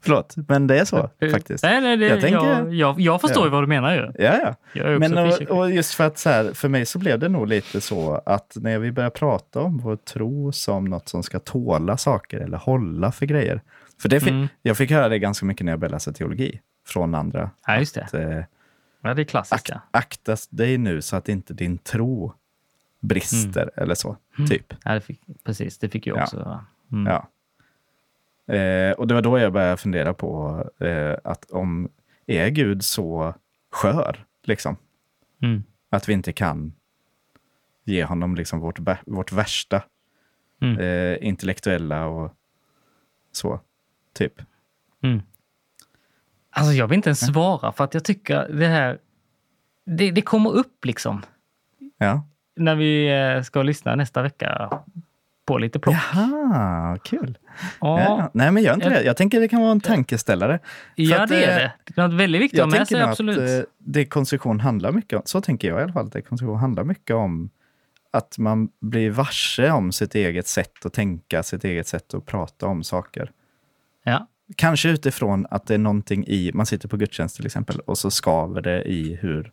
S1: Förlåt, men det är så
S2: Hur-
S1: faktiskt.
S2: Nej, nej, det,
S1: Jag
S2: jag,
S1: tänker-
S2: jag, jag, förstår ju vad du menar ju.
S1: Ja, ja.
S2: Jag är också
S1: Men och,
S2: frikyrklig.
S1: och just för att så här, för mig så blev det nog lite så att när vi börjar prata om vår tro som något som ska tåla saker eller hålla för grejer. För det fick,
S2: Mm.
S1: jag fick höra det ganska mycket när jag började läsa teologi från andra.
S2: Ja, just det.
S1: Att, eh,
S2: Ja, det är klassiskt.
S1: Ak-
S2: Ja.
S1: akta dig nu så att inte din tro brister
S2: Mm.
S1: eller så. Typ.
S2: Ja, det fick, precis, det fick jag
S1: Ja.
S2: också höra. Mm.
S1: Ja. Eh, och det var då jag började fundera på eh, att om är Gud så skör, liksom,
S2: Mm.
S1: att vi inte kan ge honom liksom vårt, bä- vårt värsta
S2: Mm.
S1: eh, intellektuella och så, typ.
S2: Mm. Alltså jag vill inte ens svara för att jag tycker det här, det, det kommer upp liksom
S1: Ja.
S2: när vi eh, ska lyssna nästa vecka på lite plock.
S1: Jaha, kul.
S2: Ja,
S1: Ja.
S2: ja,
S1: Nej, men gör inte
S2: Jag-
S1: det. Jag tänker det kan vara en tankeställare. För att,
S2: det
S1: eh,
S2: är det. Det är något väldigt viktigt att
S1: Jag
S2: ha med
S1: tänker
S2: sig,
S1: nog
S2: absolut.
S1: att eh, dekonstruktion handlar mycket om, så tänker jag i alla fall, att dekonstruktion handlar mycket om att man blir varse om sitt eget sätt att tänka, sitt eget sätt att prata om saker.
S2: ja.
S1: Kanske utifrån att det är någonting i, man sitter på gudstjänst till exempel, och så skaver det i hur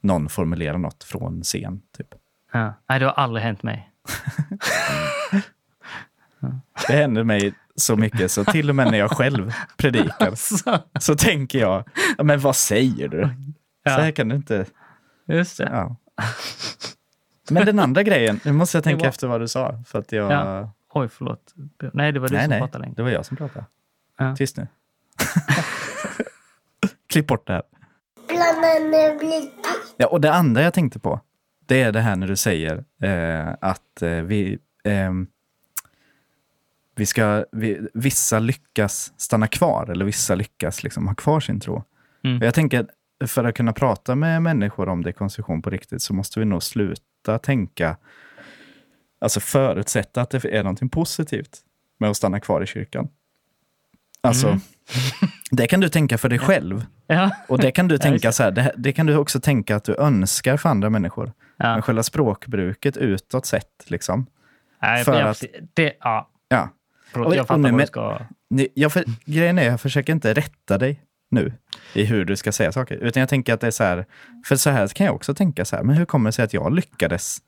S1: någon formulerar något från scen. Typ.
S2: Ja. Nej, det har aldrig hänt mig.
S1: Det händer mig så mycket, så till och med när jag själv predikar
S2: Så,
S1: så tänker jag, "Ja, men vad säger du? Så
S2: Ja.
S1: här kan du inte...
S2: just det.
S1: Ja. Men den andra grejen, nu måste jag
S2: Det
S1: tänka
S2: var-
S1: efter vad du sa. För att jag...
S2: Ja. Oj, förlåt. Nej, det var du
S1: nej,
S2: som
S1: nej,
S2: pratade längre.
S1: det var jag som pratade.
S2: Ja.
S1: Tyst nu. Klipp bort det här.
S3: Bananer blir
S1: Ja, och det andra jag tänkte på, det är det här när du säger eh, att eh, vi, ehm, vi ska, vi, vissa lyckas stanna kvar eller vissa lyckas liksom ha kvar sin tro.
S2: Mm.
S1: Och Jag tänker, för att kunna prata med människor om dekonstruktion på riktigt så måste vi nog sluta tänka, alltså förutsätta att det är någonting positivt med att stanna kvar i kyrkan. Alltså, det kan du tänka för dig själv.
S2: Ja.
S1: Och det kan du
S2: just
S1: tänka
S2: det.
S1: så här, det, det kan du också tänka att du önskar för andra människor.
S2: Ja.
S1: Men själva språkbruket utåt sett, liksom.
S2: Nej,
S1: För
S2: ja,
S1: att-
S2: precis. det, ja.
S1: Ja.
S2: Förlåt,
S1: Oj,
S2: jag
S1: och
S2: fattar
S1: nu
S2: vad du
S1: med-
S2: ska...
S1: Ni- Jag för, grejen är, jag försöker inte rätta dig nu i hur du ska säga saker. Utan jag tänker att det är så här, för så här kan jag också tänka så här, men hur kommer det sig att jag lyckades?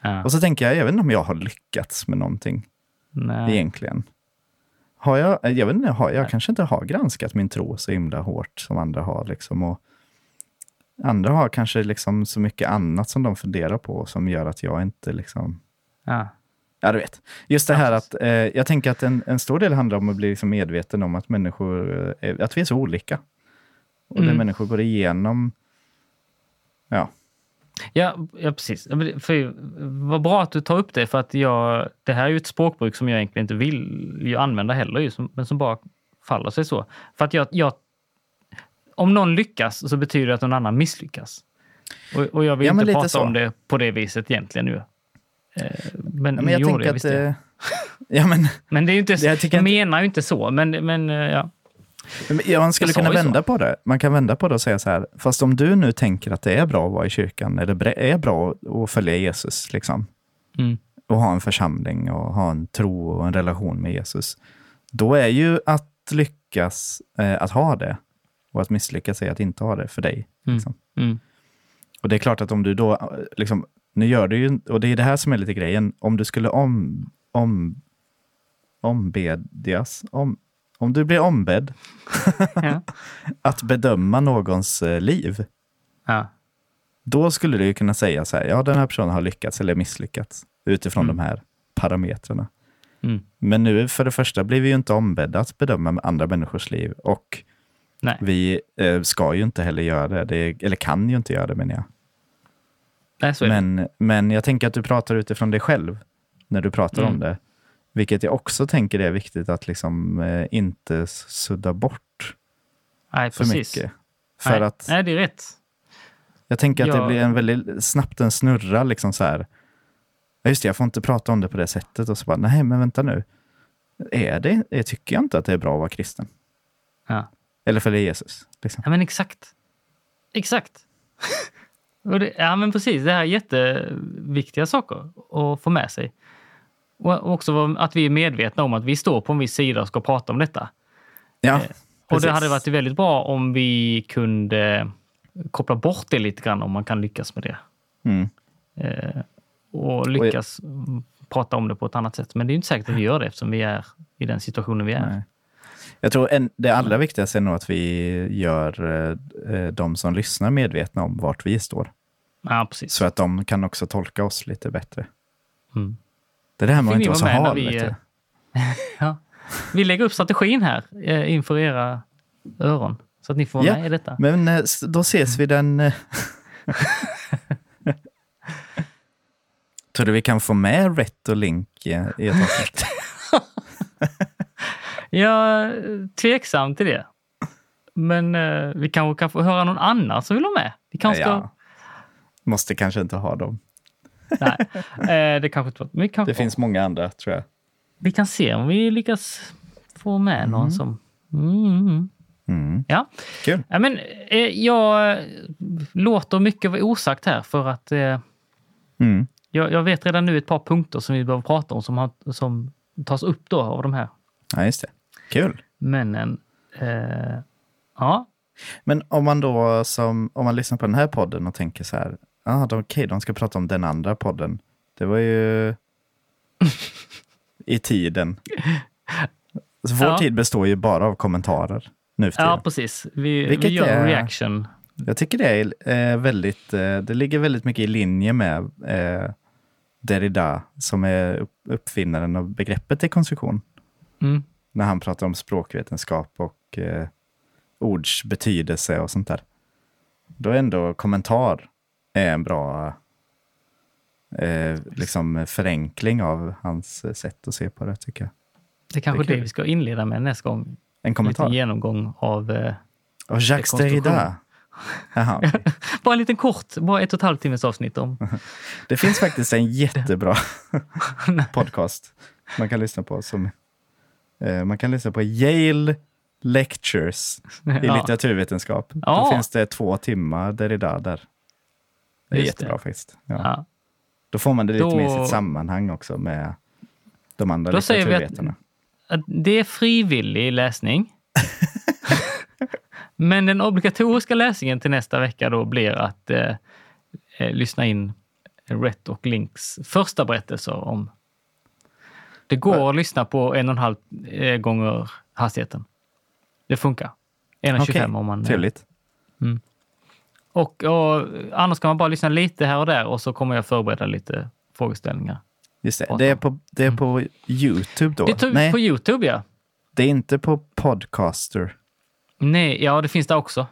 S2: Ja.
S1: Och så tänker jag, jag vet inte om jag har lyckats med någonting
S2: Nej.
S1: egentligen. Har jag, eh, jag vet inte, har, jag kanske inte har granskat min tro så himla hårt som andra har. Liksom, och andra har kanske liksom så mycket annat som de funderar på som gör att jag inte liksom...
S2: Ja.
S1: Ja, Ja, du vet. Just det här att eh, jag tänker att en, en stor del handlar om att bli liksom medveten om att människor, eh, att vi är så olika. Och det
S2: Mm.
S1: människor går igenom. Ja,
S2: Ja, ja precis. Ja, men det- För, vad bra att du tar upp det, för att jag, det här är ju ett språkbruk som jag egentligen inte vill ju använda heller, ju, som- men som bara faller sig så. För att jag, jag, om någon lyckas så betyder det att någon annan misslyckas. Och, och jag vill
S1: Ja, men
S2: inte
S1: lite
S2: prata
S1: så.
S2: om det på det viset egentligen nu. Eh, Men,
S1: ja men jag
S2: jo, det
S1: tänker att...
S2: visste jag.
S1: Eh, ja, men
S2: Men det är ju inte,
S1: jag
S2: jag,
S1: tycker inte-
S2: menar ju inte så, men, men eh, ja.
S1: Men Ja, man skulle
S2: Jag sa
S1: kunna
S2: ju så.
S1: vända på det. Man kan vända på det och säga så här, fast om du nu tänker att det är bra att vara i kyrkan, eller bre- är bra att följa Jesus, liksom,
S2: Mm.
S1: och ha en församling och ha en tro och en relation med Jesus, då är ju att lyckas eh, att ha det och att misslyckas är att inte ha det för dig.
S2: Mm.
S1: Liksom.
S2: Mm.
S1: Och det är klart att om du då, eh, liksom, nu gör du ju, och det är det här som är lite grejen, om du skulle om, om, ombedjas, om, om du blir ombedd
S2: Ja.
S1: att bedöma någons eh, liv,
S2: Ja.
S1: då skulle du ju kunna säga så här, ja den här personen har lyckats eller misslyckats utifrån de här parametrarna.
S2: Mm.
S1: Men nu för det första blir vi ju inte ombedda att bedöma andra människors liv och
S2: Nej.
S1: vi eh, ska ju inte heller göra det, det, eller kan ju inte göra det menar jag.
S2: Nej, så är det.
S1: Men, men jag tänker att du pratar utifrån dig själv när du pratar
S2: Mm.
S1: om det. Vilket jag också tänker är viktigt att liksom eh, inte s- sudda bort
S2: Nej,
S1: för
S2: precis.
S1: mycket. För
S2: Nej.
S1: att
S2: Nej, det är rätt.
S1: jag tänker att det
S2: jag-
S1: blir en väldigt snabbt en snurra liksom så här. Ja, just det, jag får inte prata om det på det sättet och så bara, nej men vänta nu. Är det, är- tycker jag inte att det är bra att vara kristen?
S2: Ja.
S1: Eller följa Jesus? Liksom.
S2: Ja, men exakt. Exakt. och det, ja, men precis. Det här är jätteviktiga saker att få med sig. Och och också vad- att vi är medvetna om att vi står på en viss sida och ska prata om detta.
S1: Ja,
S2: Eh, Och det
S1: precis.
S2: hade varit väldigt bra om vi kunde koppla bort det lite grann, om man kan lyckas med det.
S1: Mm.
S2: Eh, och lyckas mm, prata om det på ett annat sätt. Men det är ju inte säkert att vi gör det eftersom vi är i den situationen vi är.
S1: Nej. Jag tror en, det allra viktigaste är nog att vi gör eh, eh, de som lyssnar medvetna om vart vi står.
S2: Ja, precis.
S1: Så att de kan också tolka oss lite bättre.
S2: Mm.
S1: Det är det här med att
S2: Fick ni
S1: inte vara så
S2: vara med när
S1: hal.
S2: vi,
S1: vet du.
S2: eh, Ja. Vi lägger upp strategin här eh, inför era öron. Så att ni får vara
S1: Ja,
S2: med i detta.
S1: Men eh, s- då ses vi den... eh, Tror du vi kan få med Rätt och Link eh, i ett avsnitt?
S2: Jag är tveksam till det. Men eh, vi kanske kan få höra någon annan som vill vara med. Vi kanske ska...
S1: Ja. Måste kanske inte ha dem.
S2: Nej, eh, det kanske inte var... Men vi, kanske,
S1: Det finns många andra, tror jag.
S2: vi kan se om vi lyckas få med någon som... Mm, mm.
S1: Mm.
S2: Ja.
S1: Kul.
S2: Ja, men, eh, jag låter mycket vara osagt här för att eh,
S1: Mm.
S2: jag, jag vet redan nu ett par punkter som vi behöver prata om som, har, som tas upp då av de här
S1: Ja, just det. Kul.
S2: männen. Eh, ja,
S1: Men om man då som, om man lyssnar på den här podden och tänker så här, ah, de, okej, de ska prata om den andra podden. Det var ju i tiden. Så vår
S2: Ja.
S1: tid består ju bara av kommentarer nu för tiden.
S2: ja precis. Vi,
S1: Vilket
S2: vi gör
S1: är-
S2: en reaction.
S1: Jag tycker det är eh, väldigt, eh, det ligger väldigt mycket i linje med eh, Derrida som är upp- uppfinnaren av begreppet dekonstruktion.
S2: Mm.
S1: När han pratar om språkvetenskap och eh, ords betydelse och sånt där. Då är ändå kommentar är en bra eh, liksom förenkling av hans eh, sätt att se på det tycker jag.
S2: Det är kanske
S1: Det är
S2: det,
S1: kul.
S2: vi ska inleda med nästa gång.
S1: En
S2: En liten
S1: kommentar.
S2: genomgång av... Eh,
S1: Och Jacques
S2: Dekonstruktion.
S1: Derrida. Jaha, okej.
S2: bara en liten kort, bara ett och ett halvt timmes avsnitt om...
S1: Det finns faktiskt en jättebra podcast man kan lyssna på. Som, eh, man kan lyssna på Yale Lectures i
S2: Ja.
S1: litteraturvetenskap.
S2: Ja.
S1: Då finns det två timmar där i där. där. Det är
S2: Just det.
S1: jättebra faktiskt. Ja.
S2: Ja.
S1: Då får man det lite
S2: Då-
S1: mer i sitt sammanhang också med de andra
S2: Då säger vi att-
S1: litteraturvetarna.
S2: Att Det är frivillig läsning. Men den obligatoriska läsningen till nästa vecka då blir att eh, eh, lyssna in Rhett och Links första berättelser om... Det går att lyssna på en och en halv eh, gånger hastigheten. Det funkar. 1,25
S1: Okej,
S2: om man... eh,
S1: Trevligt.
S2: Och, och annars kan man bara lyssna lite här och där och så kommer jag förbereda lite frågeställningar.
S1: Just det. Det är på, det är på YouTube då?
S2: Mm. Det är typ
S1: Nej,
S2: på YouTube, ja.
S1: det är inte på Podcaster.
S2: Nej, ja, det finns där också.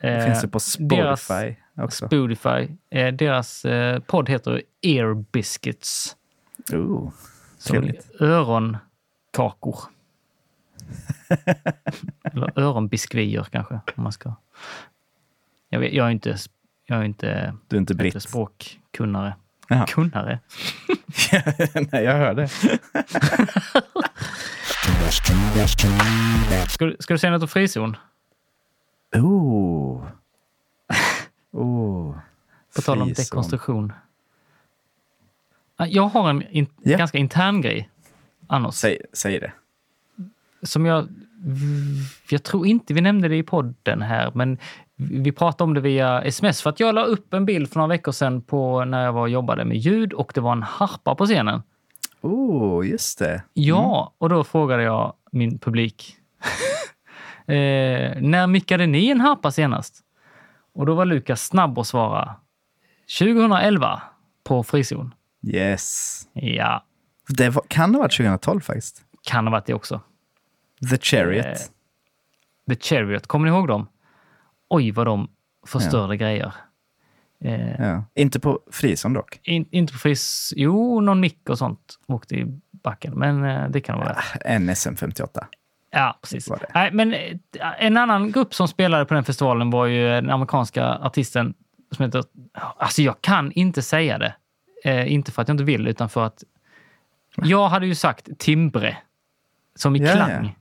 S1: Det
S2: Eh,
S1: finns det på
S2: deras-
S1: Spotify också?
S2: Spotify. Eh, deras eh, podd heter Ear Biscuits.
S1: Ooh,
S2: Som
S1: Trevligt.
S2: är öronkakor. Eller öronbiskvier kanske, om man ska. Jag, vet, jag är inte, jag är inte,
S1: Du är inte
S2: inte
S1: britt?
S2: språkkunnare.
S1: Jaha.
S2: Kunnare?
S1: Nej, jag hörde.
S2: Ska, du- ska du säga något om frizon?
S1: Ooh. Ooh.
S2: På tal om
S1: Frizon.
S2: dekonstruktion. Ah, Jag har en in,
S1: Ja.
S2: ganska intern grej annars.
S1: Säg, säg det.
S2: som jag... Jag tror inte vi nämnde det i podden här, men vi pratade om det via sms. För att jag la upp en bild för några veckor sedan på när jag var och jobbade med ljud och det var en harpa på scenen.
S1: Ooh, just det.
S2: Ja, och då frågade jag min publik. eh, när mickade ni en harpa senast? Och då var Lukas snabb att svara. 2011 på frizon.
S1: Yes.
S2: Ja,
S1: Det var, kan ha varit 2012 faktiskt.
S2: kan ha varit det också.
S1: The Chariot.
S2: Eh, The Chariot, kommer ni ihåg dem? Oj, vad de förstörde grejer. Eh,
S1: Ja. Inte på Frison dock.
S2: in, inte på fris... Jo, någon mick och sånt åkte i backen, men eh, det kan vara det.
S1: Ah, En SM58.
S2: Ja, precis.
S1: Var det.
S2: Nej, men eh, en annan grupp som spelade på den festivalen var ju den amerikanska artisten som heter... Alltså, jag kan inte säga det. Eh, inte för att jag inte vill, utan för att... Jag hade ju sagt timbre, som i
S1: Ja, ja.
S2: klang.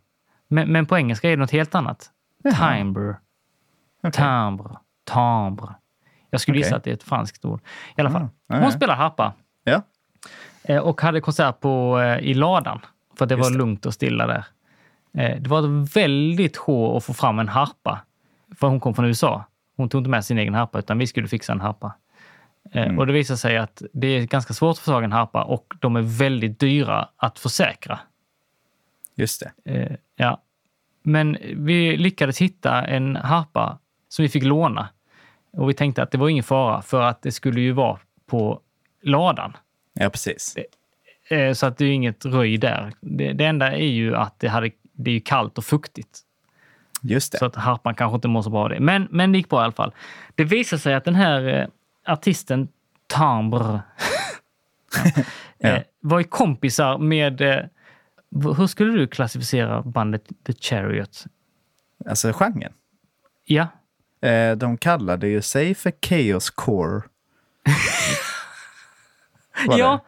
S2: Men, men på engelska är det något helt annat. Timbre. Timbre. Timbre. Jag skulle
S1: Okej. Ah,
S2: gissa att det är ett franskt ord. I alla fall.
S1: ja,
S2: Hon
S1: ja.
S2: spelar harpa.
S1: Ja.
S2: Eh, Och hade konsert på, eh, i ladan. För att det
S1: Just
S2: var
S1: det.
S2: lugnt och stilla där. Eh, Det var ett väldigt sjå att få fram en harpa. För hon kom från USA. Hon tog inte med sin egen harpa, utan vi skulle fixa en harpa. Eh,
S1: Mm.
S2: Och det visade sig att det är ganska svårt att få tag i en harpa och de är väldigt dyra att försäkra.
S1: Just det.
S2: Eh, ja. Men vi lyckades hitta en harpa som vi fick låna. Och vi tänkte att det var ingen fara, för att det skulle ju vara på ladan.
S1: Ja, precis.
S2: Eh, Så att det är ju inget röj där. Det, det enda är ju att det, hade, det är ju kallt och fuktigt.
S1: Just det.
S2: Så att harpan kanske inte mår så bra av det. Men, men det gick bra i alla fall. Det visar sig att den här eh, artisten Tambre eh, var ju kompisar med... Eh, v- hur skulle du klassificera bandet The Chariot?
S1: Alltså genren.
S2: Ja,
S1: Eh, de kallade ju sig för Chaos Core. Var det?
S2: ja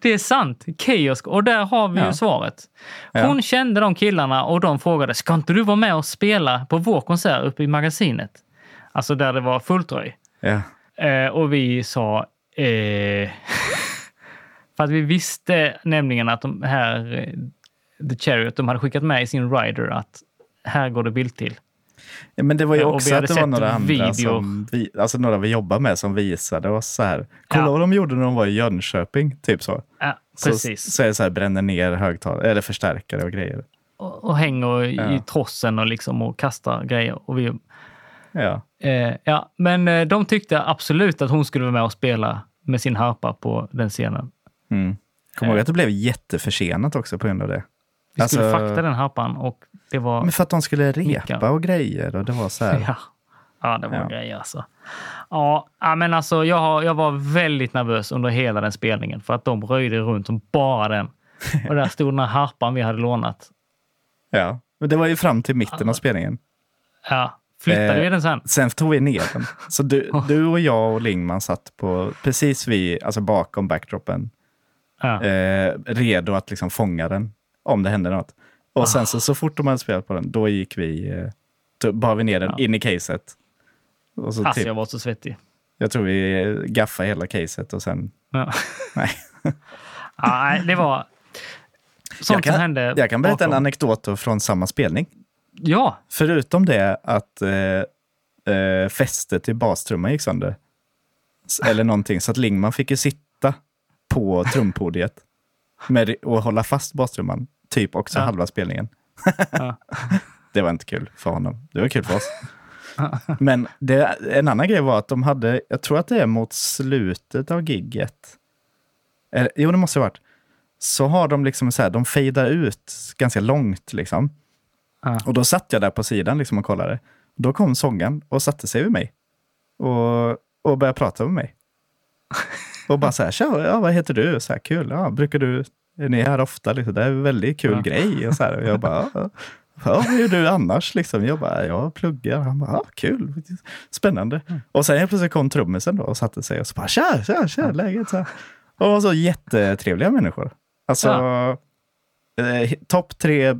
S2: det är sant. Chaos. Och där har vi ju
S1: Ja.
S2: svaret.
S1: Ja.
S2: Hon kände de killarna och de frågade, ska inte du vara med och spela på vår konsert uppe i magasinet? Alltså där det var fullt röj.
S1: Ja.
S2: Eh, och vi sa... Eh, för att vi visste nämligen att de här, eh, The Chariot, de hade skickat med i sin rider att här går det bild till.
S1: Ja, men det var ju
S2: Ja, och vi
S1: också
S2: hade
S1: att det var
S2: sett
S1: några andra
S2: videor.
S1: som vi, alltså några vi jobbar med som visade oss så här. Kolla
S2: Ja.
S1: vad de gjorde när de var i Jönköping, typ så.
S2: Ja,
S1: Så,
S2: precis.
S1: så är det så här, bränner ner högtalare, eller förstärkare och grejer.
S2: och, och hänger i,
S1: Ja.
S2: i trossen och, liksom, och kastar grejer. Och vi,
S1: Ja,
S2: eh, ja, men eh, de tyckte absolut att hon skulle vara med och spela med sin harpa på den scenen.
S1: mm. Kom
S2: Eh.
S1: ihåg att det blev jätteförsenat också på grund av det.
S2: Vi skulle
S1: Alltså-
S2: fakta den harpan och det var...
S1: Men för att de skulle repa
S2: Mika.
S1: och grejer och det var så här.
S2: Ja, ja det var
S1: Ja.
S2: grejer alltså. Ja, ja, men alltså jag, har, jag var väldigt nervös under hela den spelningen för att de röjde runt som bara den. Och där stod den här harpan vi hade lånat.
S1: Ja. Men det var ju fram till mitten av spelningen.
S2: Ja, flyttade
S1: Eh,
S2: vi den sen?
S1: Sen tog vi ner den. Så du, du och jag och Lingman satt på precis vid, alltså bakom backdropen,
S2: Ja.
S1: eh, redo att liksom fånga den om det hände något. Och sen så, så fort de hade spelat på den, då gick vi, eh, tog- bar vi ner den in i caset. Och så
S2: Alltså
S1: typ,
S2: jag var så svettig.
S1: jag tror vi eh, gaffade hela caset och sen,
S2: Ja.
S1: nej.
S2: Ja, nej, det var
S1: Jag
S2: sånt som
S1: kan,
S2: hände.
S1: jag kan berätta en
S2: bakom.
S1: anekdot då från samma spelning.
S2: Ja,
S1: Förutom det att eh, eh, fästet i bastrumman gick sönder. S- Eller någonting, så att Lingman fick ju sitta på trumpodiet med, och hålla fast bastrumman, typ också
S2: Ja.
S1: halva spelningen.
S2: Ja.
S1: det var inte kul för honom. Det var kul för oss. Men det, en annan grej var att de hade, jag tror att det är mot slutet av gigget. Eller, jo, det måste det ha varit. så har de liksom så här, de fejdar ut ganska långt. Liksom.
S2: Ja.
S1: Och då satt jag där på sidan liksom, och kollade. Då kom sången och satte sig vid mig. Och, och började prata med mig. Och bara så här, tja, ja, vad heter du? Så här, kul, ja, brukar du, är ni här ofta? Liksom, det är en väldigt kul grej. Och så här, och jag bara, ja, ja, vad gör du annars? Liksom, jag bara, jag pluggar. Han bara, ja, kul, spännande. Och sen helt plötsligt kom trummisen då och satte sig och så bara, tja, tja, tja, läget? Så här. Och de var så jättetrevliga människor. Alltså, eh, topp tre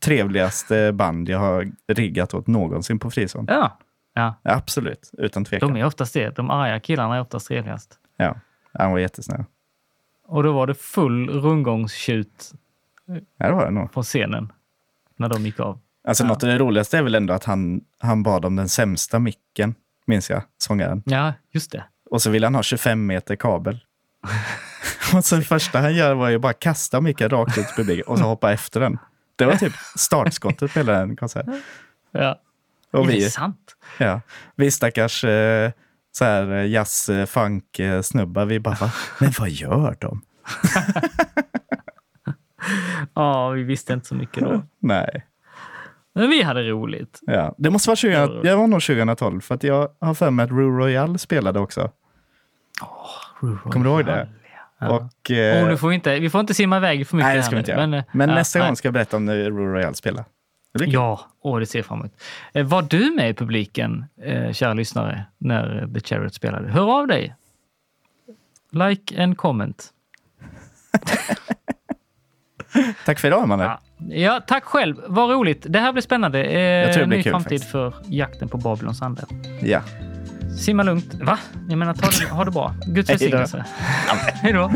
S1: trevligaste band jag har riggat åt någonsin på Frizon.
S2: Ja. ja.
S1: Absolut, utan tvekan.
S2: De är oftast det. De arga killarna är oftast trevligast.
S1: Ja, han var jättesnäll.
S2: Och då var det full rundgångstjut
S1: Ja, det var det nog.
S2: på scenen när de gick av.
S1: Alltså, Något av det roligaste är väl ändå att han, han bad om den sämsta micken, minns jag, sångaren.
S2: Ja, just det.
S1: Och så ville han ha 25 meter kabel. och så det första han gör var ju bara kasta micken rakt ut i publiken och så hoppa efter den. Det var typ startskottet på hela den konserten.
S2: Ja.
S1: Och vi,
S2: Intressant.
S1: ja, vi stackars eh, så här, eh, jazz, eh, funk, eh, snubbar, vi bara, "Va? men vad gör de?
S2: Ja, vi visste inte så mycket då.
S1: Nej.
S2: Men vi hade roligt.
S1: Ja, det måste vara 20, jag var nog 2012, för att jag har för mig att Rue Royale spelade också. Kommer du ihåg det? Och, eh,
S2: Oh, nu får vi, inte, vi får inte simma iväg för mycket.
S1: nej, det
S2: här
S1: ska vi inte
S2: nu,
S1: göra. Men,
S2: eh, ja,
S1: nästa
S2: nej.
S1: gång ska jag berätta om när Rue Royale spelade. Det blir kul.
S2: Ja, åh, det ser jag fram emot. Eh, Var du med i publiken, eh, kära lyssnare, när eh, The Chariot spelade? Hör av dig! Like and comment.
S1: Tack för idag, Amanda.
S2: Ja. Ja, tack själv. Vad roligt. Det här blir spännande. Eh, jag
S1: tror det blir
S2: ny
S1: kul
S2: framtid
S1: faktiskt.
S2: för jakten på Babylons ande.
S1: Ja.
S2: Simma lugnt. Va? Jag menar, ta det, ha det bra. Guds
S1: Hej då.
S2: välsignelse. Hej då.